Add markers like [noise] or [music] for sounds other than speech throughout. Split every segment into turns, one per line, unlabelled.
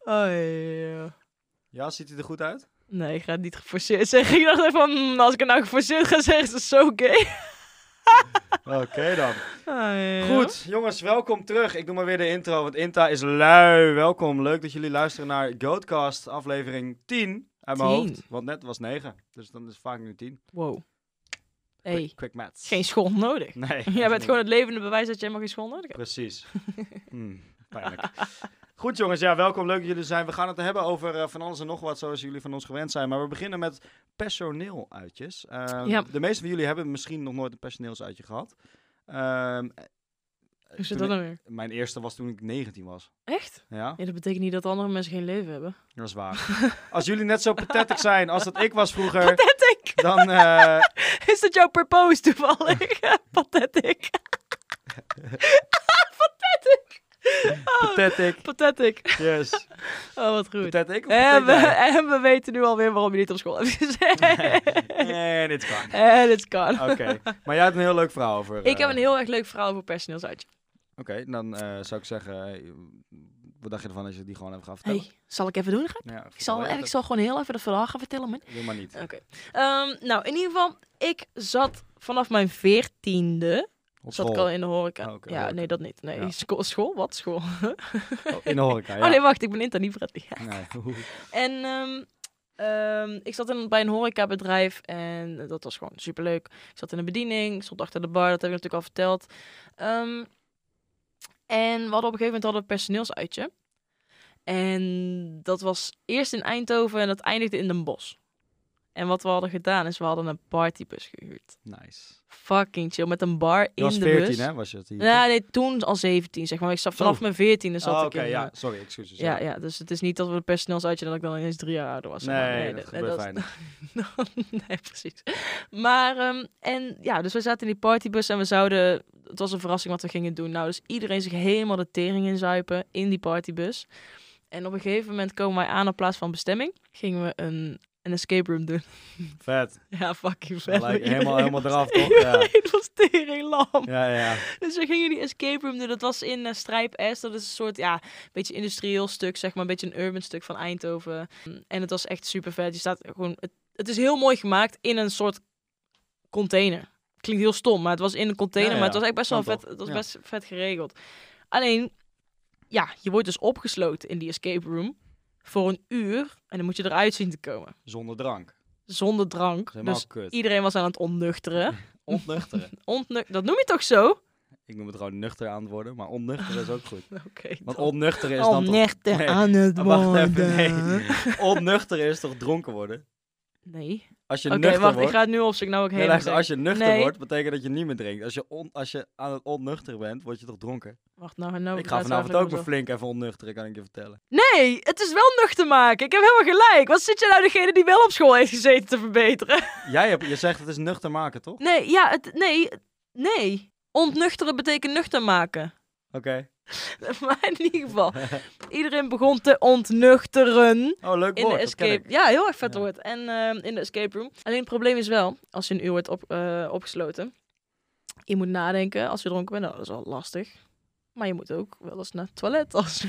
Oh, ja.
Ja, ziet hij er goed
[laughs]
uit?
Nee, ik ga het niet geforceerd zeggen. Ik dacht even van, mm, als ik het nou geforceerd ga zeggen, is het zo gay.
Oké dan.
Oh, ja.
Goed, jongens, welkom terug. Ik doe maar weer de intro, want Inta is lui. Welkom, leuk dat jullie luisteren naar Goatcast, aflevering 10 uit mijn
Tien.
hoofd. Want net was 9, dus dan is het vaak nu 10.
Wow.
Quick,
Hey,
quick maths.
geen school nodig.
[laughs] Nee.
[laughs] Jij bent gewoon het levende bewijs dat je helemaal geen school nodig hebt. [laughs]
Precies. Hmm, pijnlijk. Goed jongens, ja, welkom. Leuk dat jullie er zijn. We gaan het hebben over eh, van alles en nog wat, zoals jullie van ons gewend zijn. Maar we beginnen met personeeluitjes. Ehm,
Ja.
De meeste van jullie hebben misschien nog nooit een personeelsuitje gehad. Ehm,
Hoe zit dat
toen
dan weer?
mijn eerste was toen ik 19 was.
Echt?
Ja,
Ja, dat betekent niet dat andere mensen geen leven hebben.
dat is waar. Als jullie net zo pathetic zijn als dat ik was vroeger,
[laughs] Pathetic! [laughs]
dan... eh,
Is dat jouw purpose [laughs] toevallig? [laughs] Pathetic. Pathetic. Oh,
pathetic.
pathetic.
Yes.
Oh, wat goed.
Pathetic of
En we,
pathetic?
en we weten nu alweer waarom je niet op school hebt [laughs] gezeten.
Nee, dit kan.
En het Eh, kan.
Oké, maar jij hebt een heel leuk verhaal over...
Ik heb
eh,
een heel erg leuk verhaal over personeelsuitje.
Oké, dan eh, zou ik zeggen, eh, wat dacht je ervan als je die gewoon even gaat vertellen?
hey, zal ik even doen? Grap?
Ja,
Ik zal,
vertel
ik
je
zal gewoon heel even dat verhaal gaan vertellen. man.
dat. Doe maar niet.
Oké. Ehm, nou, in ieder geval, ik zat vanaf mijn veertiende...
Op
Zat ik
school.
al in de horeca.
Oh, oké,
ja,
horeca.
nee, dat niet. Nee,
Ja.
[laughs] school, school? Wat? School?
Oh, in de horeca,
[laughs]
ja.
Oh nee, wacht, ik ben Inta, niet Bradley.
Nee. [laughs]
En ehm, ehm, ik zat in, bij een horecabedrijf en dat was gewoon superleuk. Ik zat in de bediening, ik stond achter de bar, dat heb ik natuurlijk al verteld. Ehm, en we hadden op een gegeven moment hadden we een personeelsuitje. En dat was eerst in Eindhoven en dat eindigde in Den Bosch. En wat we hadden gedaan is, we hadden een partybus gehuurd.
Nice.
Fucking chill, met een bar
Je
in
was
de
14,
bus.
hè? Was je het hier?
Ja, nee, toen al 17, zeg maar. Ik zat vanaf
Zo.
mijn 14e zat
Oh, oké,
ik in...
ja.
eh,
Sorry, excuses.
ja, ja, dus het is niet dat we het personeels uitje dat ik dan ineens drie jaar ouder was. zeg
Nee,
maar.
dat, gebeurt weinig.
[laughs] nee, precies. Maar, ehm, en ja, dus we zaten in die partybus en we zouden... Het was een verrassing wat we gingen doen. Nou, dus iedereen zich helemaal de tering inzuipen in die partybus. En op een gegeven moment komen wij aan op plaats van bestemming. Gingen we een, een escape room doen. [laughs]
Vet.
ja, fucking [laughs] vet.
Gelijk, helemaal, helemaal eraf,
[laughs]
toch? Ja.
Het was tering lam.
Ja, ja.
Dus we gingen die escape room doen. Dat was in eh, Strijp S. Dat is een soort, ja, beetje industrieel stuk, zeg maar. Een beetje een urban stuk van Eindhoven. En het was echt super vet. Je staat gewoon... Het, het is heel mooi gemaakt in een soort container. Klinkt heel stom, maar het was in een container.
Ja, ja,
Maar het was echt best wel
kan
vet.
toch?
Het was
Ja.
best vet geregeld. Alleen, ja, je wordt dus opgesloten in die escape room voor een uur. En dan moet je eruit zien te komen.
Zonder drank. Dat
Zonder
is
drank.
helemaal
Dus
kut.
iedereen was aan het
[laughs]
onnuchteren.
Ontnuchteren.
Ontnu- dat noem je toch zo? [laughs] Oké.
Ik noem het gewoon nuchter aan het worden, maar onnuchteren is ook
[laughs]
goed.
dan.
Want onnuchteren is
Al
dan toch...
nuchter
Nee,
aan het
[laughs] Wacht
worden.
even, nee. Onnuchteren is toch dronken worden?
Nee.
Als je
Oké,
nuchter
wacht.
wordt...
Ik ga het nu opzoeken. Nou, ik
Nee,
helemaal
luister, als je nuchter
Nee.
wordt, betekent dat je niet meer drinkt. Als je, on, als je aan het onnuchteren bent, word je toch dronken?
Wacht, nou, nou
ik ga
raad
vanavond ook
eigenlijk
me
wel
flink even onnuchteren, kan ik je vertellen.
zo. Nee, het is wel nuchter maken. Ik heb helemaal gelijk. Wat zit je nou degene die wel op school heeft gezeten te verbeteren?
Jij hebt, je zegt het is nuchter maken, toch? Oké.
[laughs] Nee, ja, het, nee, nee. Ontnuchteren betekent nuchter maken. [laughs] Maar in ieder
[laughs]
geval, iedereen begon te ontnuchteren.
Oh, leuk
In de
woord, dat ken
escape.
ik.
Ja, heel erg vet
Ja.
woord. En ehm, in de escape room. Alleen het probleem is wel, als je een uur wordt op, eh, opgesloten, je moet nadenken als je dronken bent. Nou, dat is al lastig. Maar je moet ook wel eens naar het toilet als,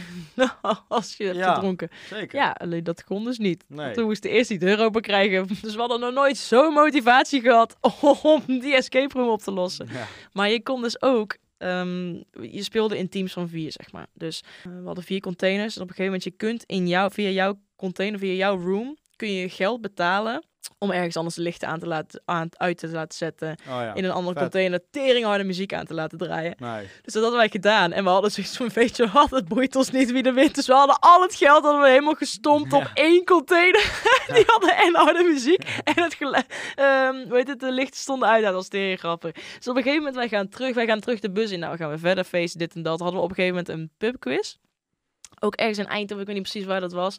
als je [laughs] hebt
Ja.
gedronken.
Zeker.
Ja, alleen dat kon dus niet.
Nee.
Toen moesten we eerst die deur open krijgen. [laughs] Dus we hadden nog nooit zo'n motivatie gehad [laughs] om die escape room op te lossen.
Ja.
Maar je kon dus ook. ehm, je speelde in teams van vier, zeg maar. Dus eh, we hadden vier containers. En op een gegeven moment, je kunt in jouw, via jouw container, via jouw room, kun je geld betalen om ergens anders de lichten aan te laten, aan, uit te laten zetten.
Oh ja.
in een andere
vet.
container teringharde muziek aan te laten draaien. [laughs]
Nee.
Dus dat hadden wij gedaan. En we hadden zoiets van, weet je wat, het boeit ons niet wie er wint. Dus we hadden al het geld hadden we helemaal gestompt op één container. [laughs] Die hadden en harde muziek. En het geluid, ehm, hoe heet het, de lichten stonden uit. Ja, Dat was tegen grappig. Dus op een gegeven moment, wij gaan terug, wij gaan terug de bus in. Nou, we gaan we verder feesten, dit en dat. Hadden we op een gegeven moment een pubquiz. Ook ergens in Eindhoven, ik weet niet precies waar dat was.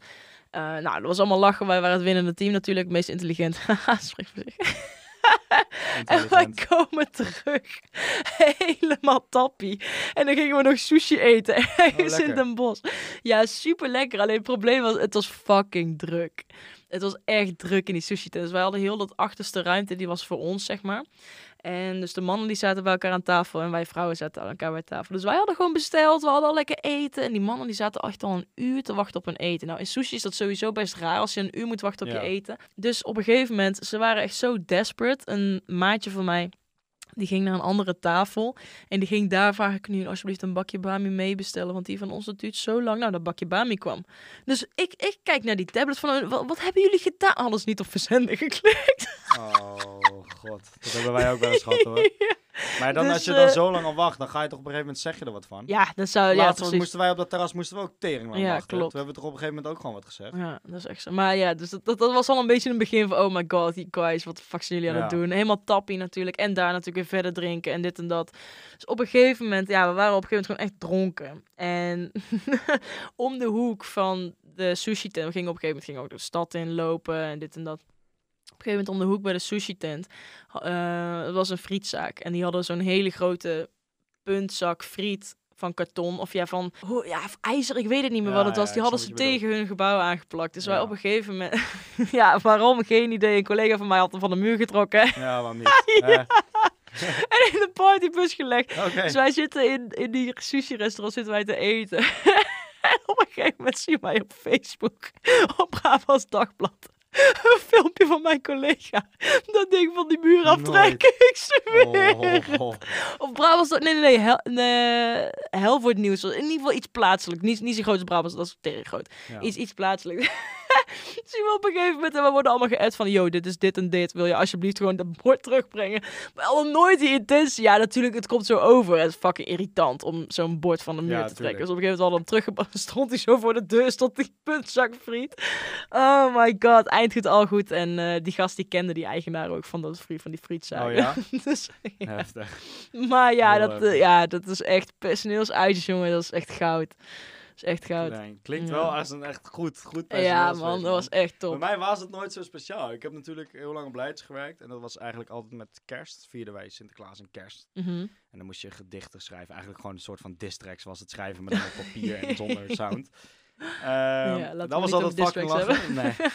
Eh, nou, dat was allemaal lachen. Wij waren het winnende team natuurlijk, het meest intelligent. [laughs] Haha, spreek voor zich. En wij
Intelligent.
komen terug. [laughs] Helemaal tappie. En dan gingen we nog sushi eten. [laughs] Ergens in
Oh, lekker.
Den Bosch. Ja, super lekker. Alleen het probleem was, het was fucking druk. Het was echt druk in die sushi tent. Dus wij hadden heel dat achterste ruimte, die was voor ons, zeg maar. En dus de mannen die zaten bij elkaar aan tafel en wij vrouwen zaten aan elkaar bij tafel. Dus wij hadden gewoon besteld, we hadden al lekker eten. En die mannen die zaten echt al een uur te wachten op hun eten. Nou, in sushi is dat sowieso best raar als je een uur moet wachten op
Ja.
je eten. Dus op een gegeven moment, ze waren echt zo desperate. Een maatje van mij, die ging naar een andere tafel. En die ging daar vragen, kunnen jullie alsjeblieft een bakje bami mee bestellen? Want die van ons dat duurt zo lang. Nou, dat bakje bami kwam. Dus ik, ik kijk naar die tablet van, hun, wat, wat hebben jullie gedaan? Alles niet op verzenden geklikt.
Oh, god. Dat hebben wij ook wel eens gehad,
[laughs]
hoor. Maar dan,
Dus,
als je dan
eh,
zo lang al wacht, dan ga je toch op een gegeven moment zeg je er wat van.
Ja, dat zou... ja,
Laatst
precies.
moesten wij op dat terras moesten we ook tering lang
Ja,
wachten.
klopt.
Toen hebben we toch op een gegeven moment ook gewoon wat gezegd.
[laughs] Ja, dat is echt zo. Maar ja, dus dat, dat, dat was al een beetje een begin van... Oh my god, die guys, wat de fuck zijn jullie aan het
Ja.
doen? Helemaal tappie natuurlijk. En daar natuurlijk weer verder drinken en dit en dat. Dus op een gegeven moment... Ja, we waren op een gegeven moment gewoon echt dronken. En [laughs] om de hoek van de sushi tent... We gingen op een gegeven moment gingen we ook de stad in lopen en dit en dat. Op een gegeven moment om de hoek bij de sushi tent... eh, het was een frietzaak. En die hadden zo'n hele grote puntzak friet van karton of ja van hoe- ja of ijzer ik weet het niet meer
Ja,
wat het
ja,
was die
ik
hadden ze
snap wat je
tegen
bedoelt.
tegen hun gebouw aangeplakt. Dus wij
Ja.
op een gegeven moment... [laughs] ja, waarom? Geen idee. Een collega van mij had hem van de muur getrokken. [laughs] en
Ja, waarom niet? Eh,
in de partybus gelegd.
Oké.
Dus wij zitten in, in die sushi-restaurant zitten wij te eten. [laughs] en op een gegeven moment zien wij op Facebook... op Brabants Dagblad... een filmpje van mijn collega... dat ding van die muur aftrekken. Ik zweer
Oh, oh, oh.
Of Brabants... Nee, nee, nee. Hel, nee Helvoort Nieuws. In ieder geval iets plaatselijk. Niet, niet zo groot als Brabants. Dat is tegen groot.
Ja.
Iets, iets plaatselijk. [laughs] Zien we op een gegeven moment en we worden allemaal geëd van... ...yo, dit is dit en dit. Wil je alsjeblieft gewoon dat bord terugbrengen? Maar hadden nooit die intentie. Ja, natuurlijk, het komt zo over. Het is fucking irritant om zo'n bord van de muur
Ja,
te trekken.
tuurlijk.
Dus op een gegeven moment hadden we hem teruggebracht. [laughs] Stond hij zo voor de deur, stond die puntzak friet. Oh my god, eind goed, al goed. En eh, die gast die kende die eigenaar ook van, dat, frie- van die frietzaak.
Oh ja?
[laughs] dus, ja.
Heftig.
Maar ja
Heel
dat,
leuk.
eh, ja, dat is echt personeelsuitjes, jongen. Dat is echt goud. Dat is echt goud.
Nee, klinkt
Ja.
wel als een echt goed, goed
ja,
personeelswezen,
man, dat was echt top.
Bij mij was het nooit zo speciaal. Ik heb natuurlijk heel lang op Leids gewerkt. En dat was eigenlijk altijd met kerst. Vierden wij Sinterklaas en kerst.
Mhm.
En dan moest je gedichten schrijven. Eigenlijk gewoon een soort van distracts was het schrijven. Maar dan op papier
[laughs]
en zonder sound. Ehm,
laten we
dat was
niet
altijd
over
fucking
distracts
lachen. Nee.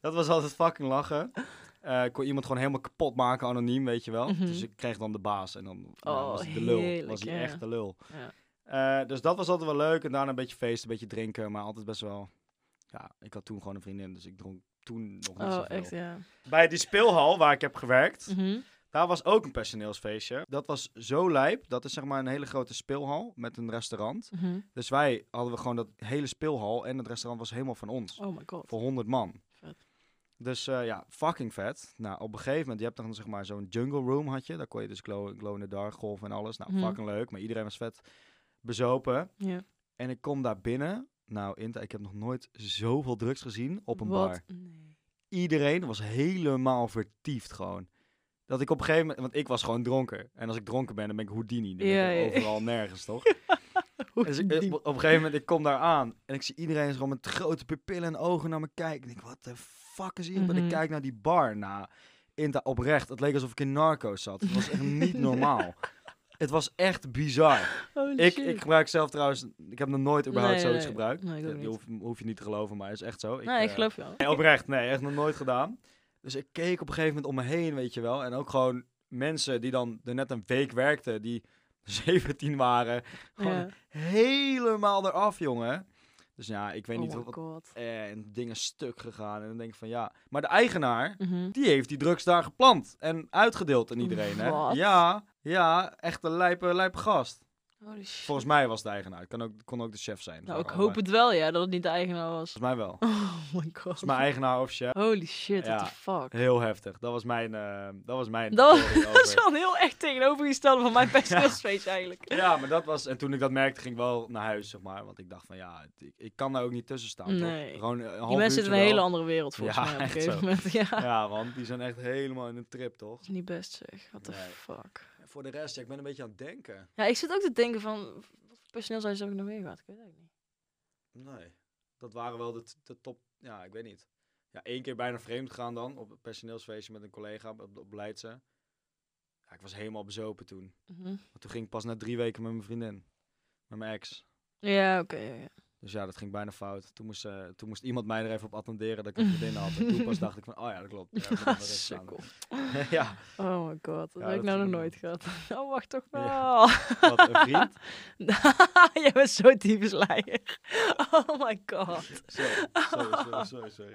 [laughs]
dat was altijd fucking lachen. Eh, ik kon iemand gewoon helemaal kapot maken, anoniem, weet je wel.
Mhm.
Dus ik kreeg dan de baas en dan nou ja,
Oh,
was hij de lul.
heerlijk,
was hij
ja.
echt de lul.
Ja.
Eh, dus dat was altijd wel leuk. En daarna een beetje feest, een beetje drinken. Maar altijd best wel... Ja, ik had toen gewoon een vriendin, dus ik dronk toen nog niet
Oh,
zoveel.
echt, ja.
Bij die speelhal waar ik heb gewerkt...
Mhm.
Daar was ook een personeelsfeestje. Dat was zo lijp. Dat is zeg maar een hele grote speelhal met een restaurant.
Mhm.
Dus wij hadden we gewoon dat hele speelhal en het restaurant was helemaal van ons.
Oh my god.
Voor 100 man.
Vet.
Dus eh, ja, fucking vet. Nou, op een gegeven moment, je hebt dan zeg maar zo'n jungle room had je. Daar kon je dus glow, glow in the dark golven en alles. Nou,
Mhm.
fucking leuk. Maar iedereen was vet bezopen.
Ja.
En ik kom daar binnen. Nou, Inta, ik heb nog nooit zoveel drugs gezien op een
Wat?
bar
[laughs] Nee.
iedereen was helemaal vertiefd gewoon. Dat ik op een gegeven moment, want ik was gewoon dronken. En als ik dronken ben, dan ben ik Houdini. Dan
Ja,
ben ik
ja.
overal
[laughs]
nergens, toch? Dus ik, eh, op een gegeven moment, ik kom daar aan en ik zie iedereen gewoon met grote pupillen en ogen naar me kijken. En ik denk, wat de fuck is hier? En
Mhm.
ik kijk naar die bar, nou, Inta, oprecht. Het leek alsof ik in narco's zat. Het was echt niet
[laughs]
normaal. Het was echt bizar.
Holy
Ik,
shit.
ik gebruik zelf trouwens, ik heb nog nooit überhaupt
Nee,
zoiets
nee.
gebruikt.
Nee, ik ook
Dat
niet.
hoef, hoef je niet te geloven, maar het is echt zo. Ik,
nee, Nou, ik
eh,
geloof wel.
Nee, oprecht. Nee, echt nog nooit gedaan. Dus ik keek op een gegeven moment om me heen, weet je wel. En ook gewoon mensen die dan er net een week werkten, die [laughs] 17 waren. Gewoon
Ja.
helemaal eraf, jongen. Dus ja, ik weet
Oh
niet
my
wat...
god.
eh, En dingen stuk gegaan. En dan denk ik van ja... Maar de eigenaar,
Mhm.
die heeft die drugs daar geplant. En uitgedeeld aan iedereen, hè.
Wat?
Ja, ja. Echt een lijpe, lijpe gast.
Holy shit.
Volgens mij was het de eigenaar. Het kan ook, kon ook de chef zijn.
nou, ik
Maar
hoop het wel, ja, dat het niet de eigenaar was.
Volgens mij wel.
[laughs] Oh my god. [laughs]
Volgens mij eigenaar of chef.
Holy shit, what
Ja.
the fuck.
Heel heftig. Dat was mijn. eh, dat was mijn.
Dat
theorie
[laughs] Dat is
over.
wel een heel echt tegenovergestelde van mijn
[laughs]
personeelsfeest eigenlijk.
Ja, maar dat was. En toen ik dat merkte, ging ik wel naar huis, zeg maar. Want ik dacht van ja, het- ik, ik kan daar ook niet tussen staan. toch?
Nee.
Gewoon een half
Die mensen zitten in een
uurtje
hele
wel.
andere wereld volgens
Ja,
mij op een
echt
gegeven
zo.
moment. [laughs] Ja. Dat
Ja, want die zijn echt helemaal in een trip, toch?
is niet best zeg. What the
Nee.
fuck.
En voor de rest, ja, ik ben een beetje aan het denken.
Ja, ik zit ook te denken van, wat voor personeelshuis heb ik nog meer gehad? Ik weet het eigenlijk niet.
Nee. Dat waren wel de, t- de top. Ja, ik weet niet. Ja, één keer bijna vreemd gaan dan. Op een personeelsfeestje met een collega op, op Leidse. Ja, ik was helemaal bezopen toen.
Mhm.
Maar toen ging ik pas na drie weken met mijn vriendin. Met mijn ex.
Ja, oké. ja, ja.
Dus ja, dat ging bijna fout. Toen moest, eh, toen moest iemand mij er even op attenderen dat ik het binnen had. En toen pas dacht ik van, oh ja, dat [laughs] klopt. Ja, ik moet nog wel rechts staan.
Ah, Sukkel.
[laughs] ja,
Oh my god, dat
Ja,
heb ik
dat
nou nog
ging
nooit gehad. [laughs] Oh, wacht toch wel.
Ja. [laughs] wat een vriend.
[laughs] Jij bent zo typisch leier. [laughs] Oh my god.
Sorry, sorry, sorry, sorry. sorry.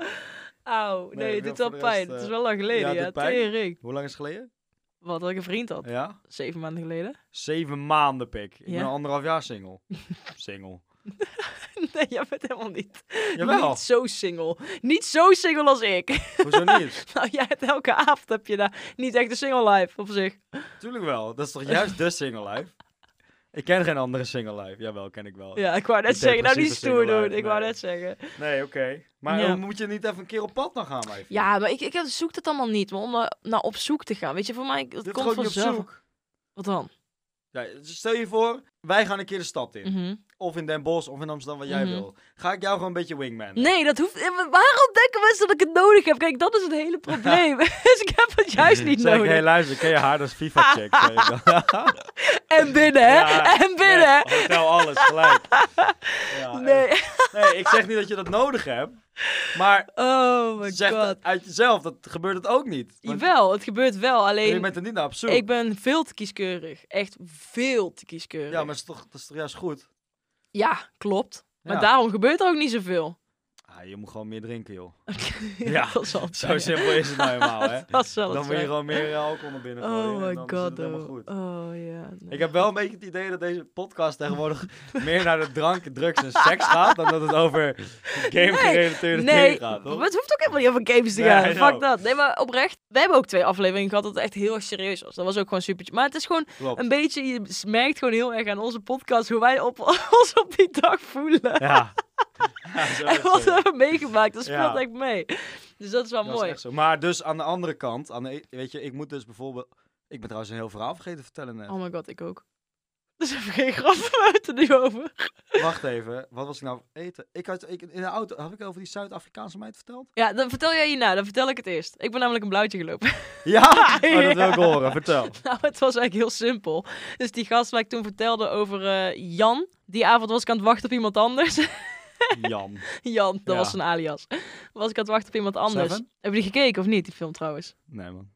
Auw, nee,
Nee,
het
wel
doet wel
voor de rest,
pijn. Het
eh,
is wel lang
ja,
geleden,
het
ja.
doet pijn.
Tering.
Hoe lang is het geleden?
Wat, dat ik een vriend had.
Ja?
Zeven maanden geleden. [laughs]
Zeven maanden, pik. Ik
Ja.
ben anderhalf jaar single. [laughs] single.
Nee, jij bent helemaal niet.
Jawel,
Niet zo single. Niet zo single als ik. [laughs]
hoezo niet?
Nou, jij hebt elke avond heb je daar niet echt een single life op zich.
Tuurlijk wel. Dat is toch juist de single life? Ik ken geen andere single life. Jawel, ken Oh, ik wel.
Ja, ik wou net
De
zeggen. Nou, niet
depressieve
stoer
single
doen.
life,
Ik wou
nee.
net zeggen.
Nee, oké. Maar
Ja.
dan moet je niet even een keer op pad dan gaan, maar
Ja, maar ik, ik heb- zoek dat allemaal niet. Maar om naar, naar op zoek te gaan. Weet je, voor mij, het
Dit
komt
gewoon niet op
vanzelf.
zoek.
Wat dan?
Ja, stel je voor, wij gaan een keer de stad in.
Mhm.
Of in Den Bosch, of in Amsterdam, wat jij
Mhm.
wil. Ga ik jou gewoon een beetje wingman?
Nee, dat hoeft. eh, maar Waarom denken mensen dat ik het nodig heb? Kijk, dat is het hele
[laughs]
probleem. dus ik heb het juist niet
zeg ik,
nodig.
hey, luister, ken je haar? Dat is
[laughs]
FIFA-check. Zeg ik dan.
En binnen, hè?
Ja,
en binnen.
Nee, hotel, alles,
[laughs]
gelijk. Ja,
Nee.
echt. nee, ik zeg niet dat je dat nodig hebt. Maar
[laughs] Oh my
zeg
god.
dat uit jezelf, dat gebeurt het ook niet. Want
Jawel, het gebeurt wel.
je
Alleen,
bent er niet naar op zoek.
ik ben veel te kieskeurig. Echt veel te kieskeurig.
Ja, maar dat is, toch, dat is toch juist goed?
Ja, klopt. Maar
Ja.
daarom gebeurt er ook niet zoveel. [laughs]
Ah, je moet gewoon meer drinken, joh.
ja, dat zal het
Zo
zijn.
simpel is het nou helemaal, hè?
[laughs] Dat zal het
Dan moet je
zijn.
gewoon meer eh, alcohol naar binnen gooien
Oh
en
my
dan zit
god,
het helemaal
oh.
goed.
Oh ja. nee.
Ik heb wel een beetje het idee dat deze podcast tegenwoordig [laughs] meer naar de drank, drugs en seks gaat dan dat het over game-gerelateerde
Nee,
dingen gaat, toch?
het hoeft ook helemaal niet over games te
Nee,
gaan.
I
Fuck
know.
dat. Nee, maar oprecht. We hebben ook twee afleveringen gehad dat het echt heel erg serieus was. Dat was ook gewoon super. Maar het is gewoon
Klopt.
een beetje... Je merkt gewoon heel erg aan onze podcast hoe wij op, [laughs] ons op die dag voelen.
[laughs] Ja. Ja, zo is
en
het
wat
zo.
we hebben meegemaakt, dat speelt
Ja.
echt mee. Dus dat is wel
Dat is
mooi.
echt zo. Maar dus aan de andere kant, aan de, weet je, ik moet dus bijvoorbeeld... Ik ben trouwens een heel verhaal vergeten te vertellen net.
Oh my god, ik ook. [laughs] Dus even geen grap [laughs] buiten nu over.
Wacht even, wat was ik nou eten? Ik had, ik, in de auto, heb ik over die Zuid-Afrikaanse meid verteld?
Ja, dan vertel jij hierna. Dan vertel ik het eerst. Ik ben namelijk een blauwtje gelopen.
Ja, Oh, dat wil
[laughs]
ik
Ja.
horen, vertel.
[laughs] Nou, het was eigenlijk heel simpel. Dus die gast waar ik toen vertelde over eh, Jan. Die avond was ik aan het wachten op iemand anders. [laughs]
Jan.
Jan, dat
Ja.
was zijn alias. Was ik aan het wachten op iemand anders.
Seven?
Hebben jullie gekeken of niet, die film trouwens?
Nee man,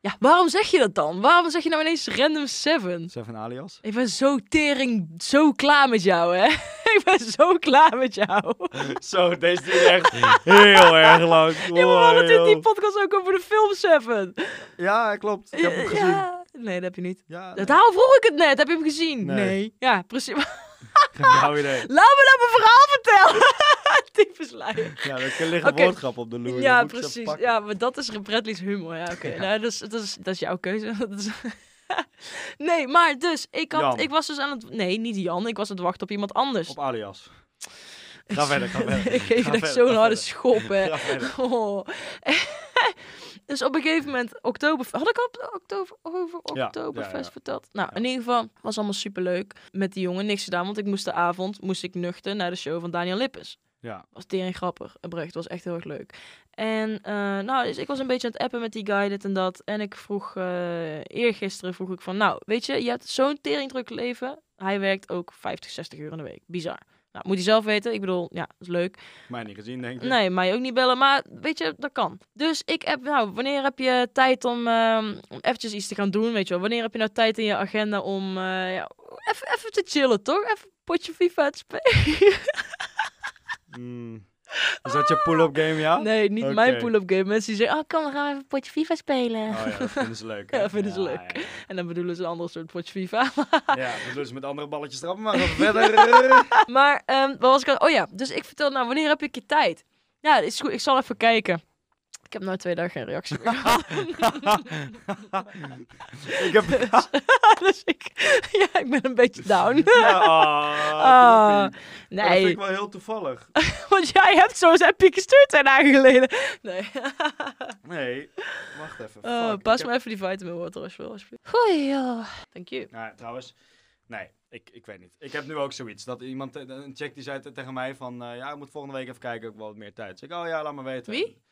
Ja, waarom zeg je dat dan? Waarom zeg je nou ineens Random Seven?
Seven
[laughs]
Alias.
Ik ben zo tering, zo klaar met jou, hè? [laughs] Ik ben zo klaar met jou.
Zo, deze duurt echt heel erg lang.
Ja, maar we hadden
Wow,
natuurlijk die
joh.
podcast ook over de film Seven.
Ja, klopt. Ik heb hem gezien. Ja,
Ja, nee, dat heb je niet.
nee.
Daarom vroeg ik het net. Heb je hem gezien?
Nee.
Ja, precies.
Geen flauw idee.
Laat me dat mijn verhaal vertellen. [laughs] Typisch lui.
Ja, er ligt een
Oké.
woordgrap op de loer.
ja,
dat moet ik ze
precies.
pakken.
Ja, maar dat is Bradley's humor. Ja, oké.
Ja.
Nou, dat is, dat, is, dat is jouw keuze. [laughs] Dat is- nee, maar dus, ik, had,
Jan.
ik was dus aan het... Nee, niet Jan. Ik was aan het wachten op iemand anders. [laughs]
Op Alias.
Ik
Ga
zweer
verder, ga
het.
verder.
[laughs] Ik
Ga
geef dat
verder,
zo'n
ga
harde
verder.
schop, hè.
[laughs] Ga verder.
[laughs] Oh. dus op een gegeven moment, oktober... Had ik al op- oktober, over
ja,
Oktoberfest
ja.
verteld? Nou,
Ja.
in ieder geval, was allemaal superleuk. Met die jongen niks gedaan, want ik moest de avond... moest ik nuchter naar de show van Daniel Lippens.
Ja.
Was tering grappig. Oprecht, was echt heel erg leuk. En eh, nou, dus ik was een beetje aan het appen met die guy, dit en dat. En ik vroeg, eh eergisteren vroeg ik van... Nou, weet je, je hebt zo'n teringdruk leven. Hij werkt ook 50, 60 uur in de week. Bizar. Nou, moet hij zelf weten. Ik bedoel, ja, dat is leuk.
Mij niet gezien, denk ik.
Nee, mij ook niet bellen, maar weet je, dat kan. Dus ik heb, nou, wanneer heb je tijd om, ehm, om eventjes iets te gaan doen, weet je wel? Wanneer heb je nou tijd in je agenda om eh, ja, even, even te chillen, toch? Even een potje FIFA te spelen.
Mm. Is dat je pull-up game, ja?
Nee, niet
Ah, Oké.
mijn pull-up game. Mensen die zeggen, oh, kom, dan gaan we even een potje FIFA spelen.
Oh ja, dat vinden ze leuk.
Ja,
hè?
vinden ze leuk.
Ja,
[laughs] En dan bedoelen ze een ander soort potje FIFA. [laughs]
ja. Ja, dat doen ze met andere balletjes trappen, maar gaan we verder. [laughs]
maar, ehm wat was ik aan... Oh ja, dus ik vertel, nou, wanneer heb ik je tijd? Ja, is goed, ik zal even kijken. Ik heb nou twee dagen geen reactie meer
[laughs]
gehad.
ik
[laughs]
heb... Ah.
dus ik, [laughs] ja, ik ben een beetje down.
Ja,
Ah,
ah, knoppie. Maar Dat vind
nee,
ik wel heel toevallig.
[laughs] want jij hebt zo'n appje gestuurd twee dagen geleden. [laughs] Nee.
Nee, wacht even.
Oh,
fuck,
pas
ik heb-
maar even die vitamin water alsjeblieft. alsjeblieft. Goeie joh. Thank you.
Nou, trouwens, nee, ik, ik weet niet. Ik heb nu ook zoiets. Dat iemand, te- een chick die zei te- tegen mij van... eh, ja, ik moet volgende week even kijken, ook wel wat meer tijd. Dus ik, oh ja, laat maar weten.
Wie?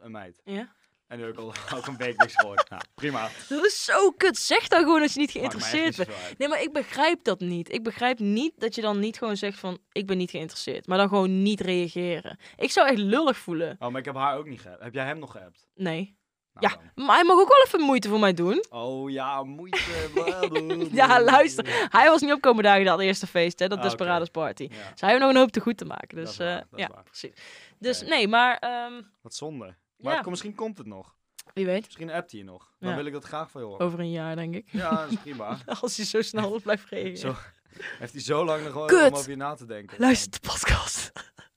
Een meid.
Ja.
En nu heb ik al [laughs] ook een week niks gehoord. Nou,
[laughs]
prima.
Dat is zo kut. Zeg dan gewoon als je niet
Maakt mij echt
geïnteresseerd
niet
bent.
zoveel uit.
Nee, maar ik begrijp dat niet. Ik begrijp niet dat je dan niet gewoon zegt van... Ik ben niet geïnteresseerd. Maar dan gewoon niet reageren. Ik zou echt lullig voelen.
Oh, maar ik heb haar ook niet geappt. Heb jij hem nog geappt?
Nee.
Nou
Ja.
dan.
Maar hij mag ook wel even moeite voor mij doen.
Oh ja,
[laughs]
moeite. blablabla.
Ja, luister. Hij was niet op komen dagen dat eerste feest, hè. Dat
Ah, oké.
Desperados Party.
Ja,
Dus hij heeft nog een hoop te goed te maken. Dus
is waar,
eh,
dat is
ja,
waar.
precies. Dus
Oké.
nee, maar ehm,
wat zonde. Maar
Ja.
kom- misschien komt het nog.
wie weet.
Misschien appt hij je nog.
Ja.
Dan
Oh.
wil ik dat graag van je horen.
Over een jaar, denk ik. [laughs]
Ja, dat is prima.
Als hij zo
[laughs]
snel blijft reageren.
Zo, heeft hij zo lang nog wel
Kut.
om over je na te denken.
Luister de podcast. [laughs]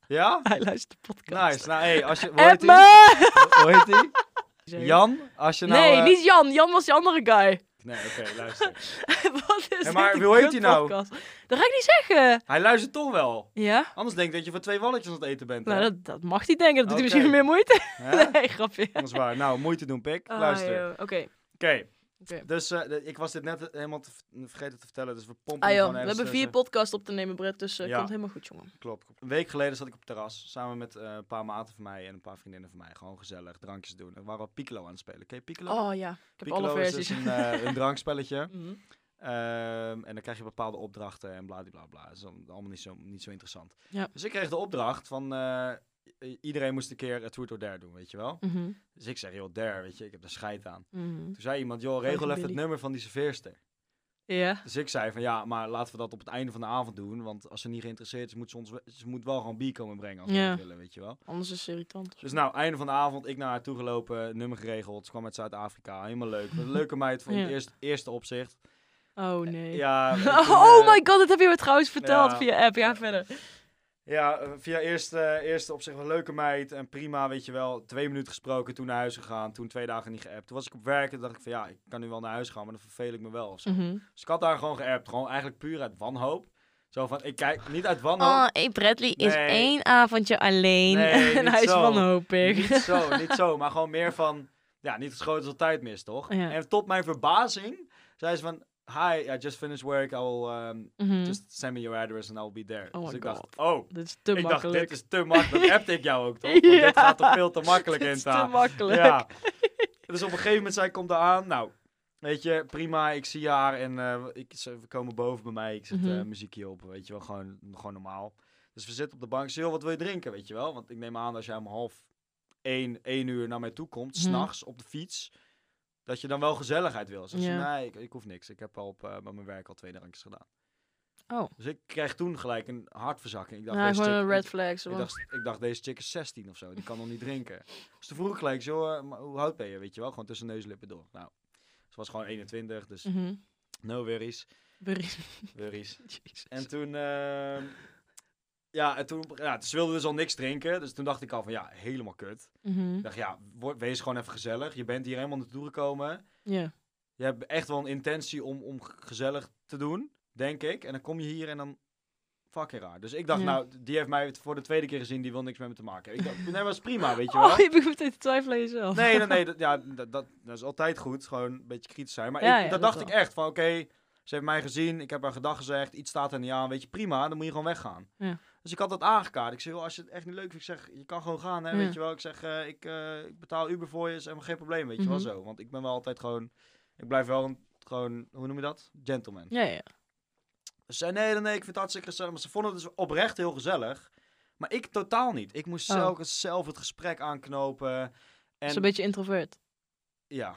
Ja?
Hij luistert de podcast.
Nice. Nou, hey, als je... Hoe heet
App
hij?
me!
Hoe heet
[laughs]
hij? Jan? Als je nou...
nee,
eh,
niet Jan. Jan was die andere guy.
Nee, oké, luister.
[laughs] Wat is
Hé, maar
dit, een
hoe heet die nou?
kutpodcast? Dat ga ik niet zeggen.
Hij luistert toch wel.
Ja?
Anders denk ik dat je voor twee walletjes aan het eten bent. hè?
Nou, dat, dat mag hij denken. Dat doet hij
Oké.
misschien meer moeite.
Hè?
Nee, grapje.
Dat is waar. Nou, moeite doen, pik.
Ah,
Luister.
joh. Oké.
Oké.
Oké.
Dus eh, de- ik was dit net helemaal te v- vergeten te vertellen, dus we pompen
Ah
hem
joh,
gewoon
we
even
hebben vier
tussen.
podcasts op te nemen, Brett. Dus eh
Ja.
komt helemaal goed, jongen.
Klopt. klopt. Een week geleden zat ik op het terras, samen met eh, een paar maten van mij en een paar vriendinnen van mij. Gewoon gezellig, drankjes doen. We waren we Piccolo aan het spelen. Ken je Piccolo?
Oh ja, ik heb
Piccolo
alle
is
versies.
dus [laughs] een, eh, een
[laughs]
drankspelletje.
Mhm.
Ehm, en dan krijg je bepaalde opdrachten en bladibladbla. Dat is dan allemaal niet zo, niet zo interessant.
Ja.
Dus ik kreeg de opdracht van... eh, i- iedereen moest een keer het Truth or Dare doen, weet je wel?
Mhm.
Dus ik zeg, joh, Dare, weet je, ik heb er scheid aan.
Mhm.
Toen zei iemand, joh, regel even het
Billy.
nummer van die serveerster.
Ja.
Dus ik zei van ja, maar laten we dat op het einde van de avond doen. Want als ze niet geïnteresseerd is, moet ze, ons, we- ze moet wel gewoon bier komen brengen als we
Ja.
dat willen, weet je wel.
Anders is het irritant.
Dus nou, einde van de avond, ik naar haar toe gelopen, nummer geregeld. Ze kwam uit Zuid-Afrika, helemaal leuk. Een leuke meid
[laughs]
van
Ja.
het eerste, eerste opzicht.
Oh nee.
Eh, Ja, en toen,
[laughs] Oh
eh,
my god, dat heb je me trouwens verteld
ja.
via app. Ja, verder.
Ja, eh, via eerste, eerste opzicht een leuke meid en prima, weet je wel. Twee minuten gesproken, toen naar huis gegaan, toen twee dagen niet geappt. Toen was ik op werk en dacht ik van ja, ik kan nu wel naar huis gaan, maar dan verveel ik me wel of zo.
Mhm.
Dus ik had daar gewoon geappt, gewoon eigenlijk puur uit wanhoop. Zo van, ik kijk niet uit wanhoop,
Oh, hey, Bradley is
Nee.
één avondje alleen.
Nee,
[laughs] en
niet
hij is
zo.
wanhopig.
Niet zo, niet zo, maar gewoon meer van, ja, niet geschoten als tijd mis, toch?
Ja.
En tot mijn verbazing zei ze van, hi, I just finished work, I will um,
[laughs] Mhm.
just send me your address and I will be there.
Oh
dus
my
ik
God.
dacht, oh,
Dit is te
ik dacht,
makkelijk.
dit is te makkelijk,
[laughs]
dat appte ik jou ook, toch? Want dit
Ja.
gaat er veel te
[laughs]
makkelijk
Dit
in
is
staan.
te makkelijk.
Ja. Dus op een gegeven moment zei ik, kom daar aan. Nou, weet je, prima. Ik zie haar en eh, ik, ze we komen boven bij mij. Ik zet
Mhm.
eh, muziekje op, weet je wel. Gewoon, gewoon normaal. Dus we zitten op de bank. Ze zegt, "Joh, wat wil je drinken, weet je wel? Want ik neem aan dat jij om half één, één uur naar mij toe komt,
Mhm.
s'nachts op de fiets. Dat je dan wel gezelligheid wil. Ze zei,
Ja.
nee, ik, ik hoef niks. Ik heb al op, eh, bij mijn werk al twee drankjes gedaan.
Oh.
Dus ik kreeg toen gelijk een hartverzakking. Ik dacht,
nou,
deze
gewoon
chick-
een red flag. zo
ik
van-
dacht, ik dacht, deze chick is 16 of zo, die kan nog niet drinken. [laughs] Dus toen vroeg ik gelijk, zo, eh, maar hoe oud ben je, weet je wel? Gewoon tussen neus en lippen door. Nou, ze was gewoon 21, dus [laughs]
Mhm.
no worries.
Berries.
worries.
Jezus.
En toen, ehm, ja, en toen, ja, ze wilde dus al niks drinken. Dus toen dacht ik al van, ja, helemaal kut.
Mhm.
Ik dacht, ja, word- wees gewoon even gezellig. Je bent hier helemaal naartoe gekomen.
Ja.
Je hebt echt wel een intentie om, om gezellig te doen, denk ik. En dan kom je hier en dan... Fucking raar. Dus ik dacht,
Ja.
nou, die heeft mij voor de tweede keer gezien, die wil niks met me te maken. Ik dacht, nee, maar dat is
[laughs]
prima, weet je wel.
Oh, je begint meteen te twijfelen aan jezelf. [laughs]
Nee, nee, nee. Dat, ja, dat, dat, dat is altijd goed. Gewoon een beetje kritisch zijn. Maar
Ja,
ik,
ja,
dat
dat
dacht ik
wel.
echt. Van oké, ze heeft mij gezien. Ik heb haar gedag gezegd. Iets staat er niet aan. Weet je, prima. Dan moet je gewoon weggaan.
Ja.
Dus ik had dat aangekaart. Ik zei, joh, als je het echt niet leuk vindt, ik zeg, je kan gewoon gaan. Hè,
Ja.
Weet je wel, ik zeg, eh, ik, eh, ik betaal Uber voor je. Is helemaal geen probleem, weet je
Mhm.
wel zo. Want ik ben wel altijd gewoon, ik blijf wel een, gewoon, hoe noem je dat? Gentleman.
Ja, ja.
Ze zei, nee, nee, nee, ik vind het hartstikke gezellig. Maar ze vonden het dus oprecht heel gezellig. Maar ik totaal niet. Ik moest
Oh.
zelf, zelf het gesprek aanknopen. En
Zo'n beetje introvert.
ja,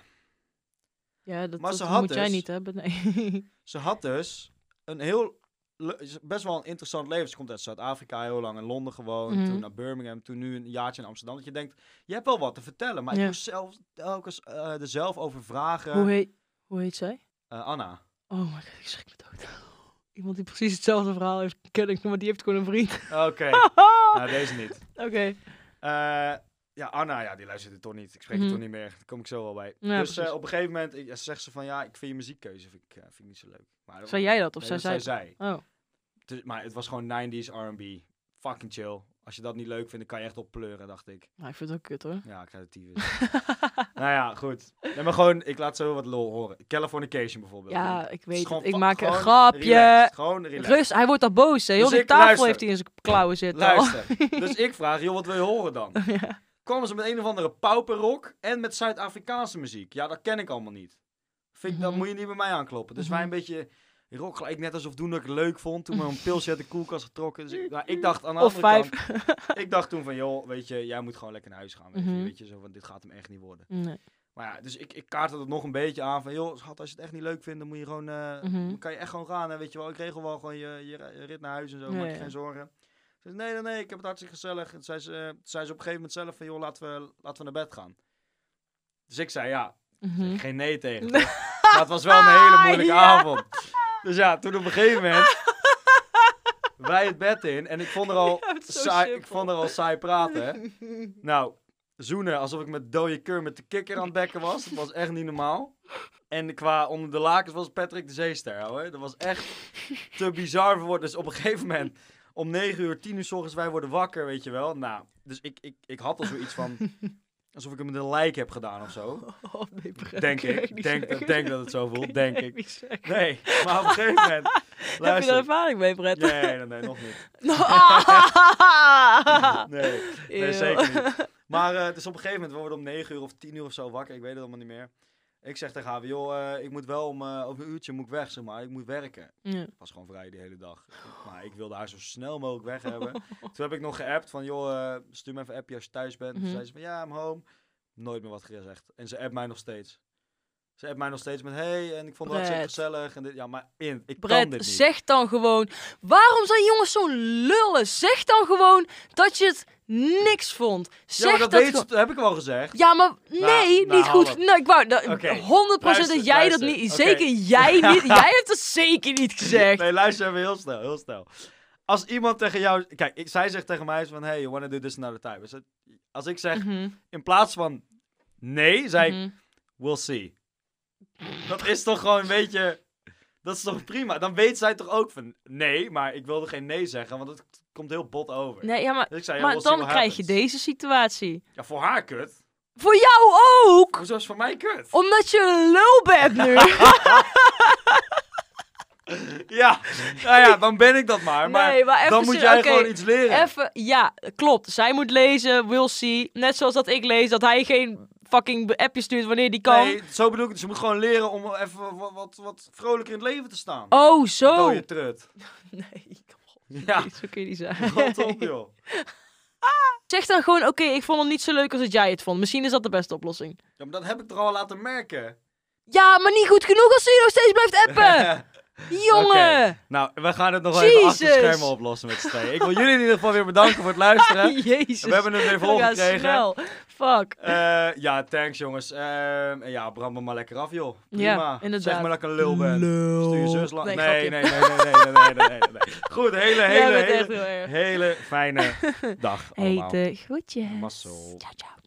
Ja, dat,
Maar
dat
ze had
moet jij
dus-
niet hebben. Nee.
Ze had dus een heel, le- best wel een interessant leven. Ze komt uit Zuid-Afrika, heel lang in Londen gewoond,
Mhm.
toen naar Birmingham, toen nu een jaartje in Amsterdam. Dat je denkt, je hebt wel wat te vertellen, maar
Ja.
ik moest zelf telkens eh, er zelf over vragen.
hoe, heet, hoe heet zij?
Eh, Anna.
Oh my god, ik schrik me dood. [laughs] Iemand die precies hetzelfde verhaal heeft, ken ik, maar die heeft gewoon een vriend.
Oké,
[laughs]
nou deze niet.
Oké.
Eh, ja, Anna, ja, die luistert het toch niet. Ik spreek
Mhm.
het toch niet meer. Daar kom ik zo wel bij.
Ja,
dus eh,
precies.
op een gegeven moment ik, zegt ze van, ja, ik vind je muziekkeuze vind ik, eh, vind ik niet zo leuk. Maar,
Zei jij dat of
Nee,
zei zij?
dat zij.
Oh.
Dus- maar het was gewoon 90s R&B. Fucking chill. Als je dat niet leuk vindt, dan kan je echt op pleuren, dacht ik.
Nou, ik vind het ook kut hoor.
Ja, ik krijg de
[laughs]
tyfus. nou ja, goed. Nee, maar gewoon, ik laat zo wat lol horen. Californication bijvoorbeeld.
Ja,
Het
ik
is
weet
gewoon
het. Ik
fa-
maak een
gewoon
grapje.
relaxed, Gewoon relaxed.
Rust, hij wordt al boos. Hè. Heel
Dus
die
ik
tafel
luister.
heeft hij in zijn klauwen zitten. al. [laughs]
Luister. dus ik vraag, joh, wat wil je horen dan?
ja.
kwamen ze met een of andere pauperrok en met Zuid-Afrikaanse muziek. Ja, dat ken ik allemaal niet. Vind ik, dan
Mhm.
moet je niet bij mij aankloppen. Dus wij een
Mhm.
beetje rock gelijk net alsof toen ik het leuk vond. Toen we een pilsje uit de koelkast getrokken. Dus ik, nou, ik dacht aan de
Of
andere
vijf.
kant, ik dacht toen van joh, weet je, jij moet gewoon lekker naar huis gaan. Weet, je.
Mhm.
weet je, zo van dit gaat hem echt niet worden.
Nee.
Maar ja, dus ik, ik kaartte het nog een beetje aan van joh, schat, als je het echt niet leuk vindt, dan moet je gewoon, eh,
Mhm.
dan kan je echt gewoon gaan. Hè, weet je wel, ik regel wel gewoon je, je re- je rit naar huis en zo,
Ja,
maak je
ja.
geen zorgen. Ze zei, nee, nee, nee, ik heb het hartstikke gezellig. En toen zei ze, eh, toen zei ze op een gegeven moment zelf van joh, laten we, laten we naar bed gaan. Dus ik zei ja,
Mhm. Ah,
geen nee tegen. Maar het was wel een
[laughs]
hele moeilijke
Ja.
avond. Dus ja, toen op een
[laughs]
gegeven moment. wij het bed in. En ik vond er al,
[laughs] Ja, het is zo
saai, ik
simpel.
vond er al saai praten. Nou, zoenen alsof ik met dode keur met de kikker aan het bekken was. Dat was echt niet normaal. En qua onder de lakens was Patrick de Zeester, hoor. Dat was echt te bizar voor woorden. Dus op een gegeven moment, om 9 uur, 10 uur s ochtends, wij worden wakker, weet je wel. Nou, dus ik, ik, ik had al zoiets van, alsof ik hem met een lijk heb gedaan of zo.
[laughs] Oh, nee, begrijp
Denk
kan
ik.
niet
Denk,
zeggen.
denk dat het zo
[laughs]
voelt,
Ik
denk
kan
ik.
niet zeggen.
Nee, maar op een gegeven moment.
Heb je er
luister.
ervaring mee, Brett? [laughs]
Nee, nee, nee, nog niet.
[laughs] Ah!
Nee, [laughs] nee
Eeuw.
zeker
[laughs]
niet. Maar eh dus op een gegeven moment worden we om 9 uur of 10 uur of zo wakker. Ik weet het allemaal niet meer. Ik zeg tegen haar, joh, eh, ik moet wel om eh, over een uurtje moet ik weg, zeg maar. Ik moet werken.
Ja.
Ik was gewoon vrij die hele dag. Maar ik wilde haar zo snel mogelijk weg
[laughs]
hebben. Toen heb ik nog geappt van, joh, eh, stuur me even een appje als je thuis bent. Toen
Mhm.
zei ze van, ja, I'm home. Nooit meer wat gezegd. En ze appt mij nog steeds. Ze appt mij nog steeds met, hey, en ik vond het hartstikke
Brett.
gezellig. En dit, ja, maar in, ik kan dit
Brett,
niet.
zeg dan gewoon. Waarom zijn jongens zo'n lullen? Zeg dan gewoon dat je het niks vond. Zeg
ja, maar dat,
dat
weet
gewoon-
ze- dat heb ik wel gezegd.
Ja, maar nee,
nou,
niet goed.
hallo.
Nee, ik wou, dat-
Oké,
100%
luister,
dat jij dat
luister,
niet.
oké.
Zeker jij niet.
[laughs]
Jij hebt dat zeker niet gezegd.
Nee, luister even heel snel, heel snel. Als iemand tegen jou... Kijk, ik, zij zegt tegen mij van, hey, you wanna do this another time. Dus dat- als ik zeg,
Mhm,
in plaats van nee, zei ik,
mhm.
we'll see. Dat is toch gewoon een beetje... Dat is toch prima? Dan weet zij toch ook van, nee, maar ik wilde geen nee zeggen, want het komt heel bot over.
Nee, ja, maar,
Dus ik zei, ja,
maar
we'll see
dan
what
krijg je
happens.
deze situatie.
Ja, voor haar kut.
Voor jou ook!
Hoezo is het voor mij kut?
Omdat je een lul bent
[laughs]
nu.
Ja, nou ja, dan ben ik dat maar. Maar
nee, maar even
dan moet
ser-
jij
oké,
gewoon iets leren.
Even, ja, klopt. Zij moet lezen, will see. Net zoals dat ik lees, dat hij geen fucking appje stuurt wanneer die kan.
Nee, zo bedoel ik het. Ze moet gewoon leren om even wat, wat, wat vrolijker in het leven te staan.
Oh, zo.
Dode
[laughs]
trut.
Nee, kom op.
[laughs] Ja,
Zo kun je niet
rot
zijn.
op joh.
Zeg dan gewoon, oké, ik vond het niet zo leuk als dat jij het vond. Misschien is dat de beste oplossing.
Ja, maar dat heb ik er al laten merken.
Ja, maar niet goed genoeg als je nog steeds blijft
[laughs]
appen. Jongen.
Nou, we gaan het nog even
Jezus.
achter de schermen oplossen met z'n tweeën. Ik wil jullie in ieder geval weer bedanken voor het
[laughs]
luisteren.
Jezus.
We hebben het weer
We gaan
volgekregen.
snel. Fuck.
Eh ja, thanks jongens. Ehm, en ja, brand me maar lekker af joh. Prima.
Ja, inderdaad.
Zeg maar dat ik een lul ben. Stuur je zus lang.
Nee,
Nee, nee,
grapje.
nee, nee, nee, nee, nee, nee, nee, nee. Goed,
[laughs]
hele,
Jij
hele,
bent echt
hele,
heel erg. [laughs]
hele fijne dag allemaal.
Hete groetjes.
Mazzel.
Ciao, ciao.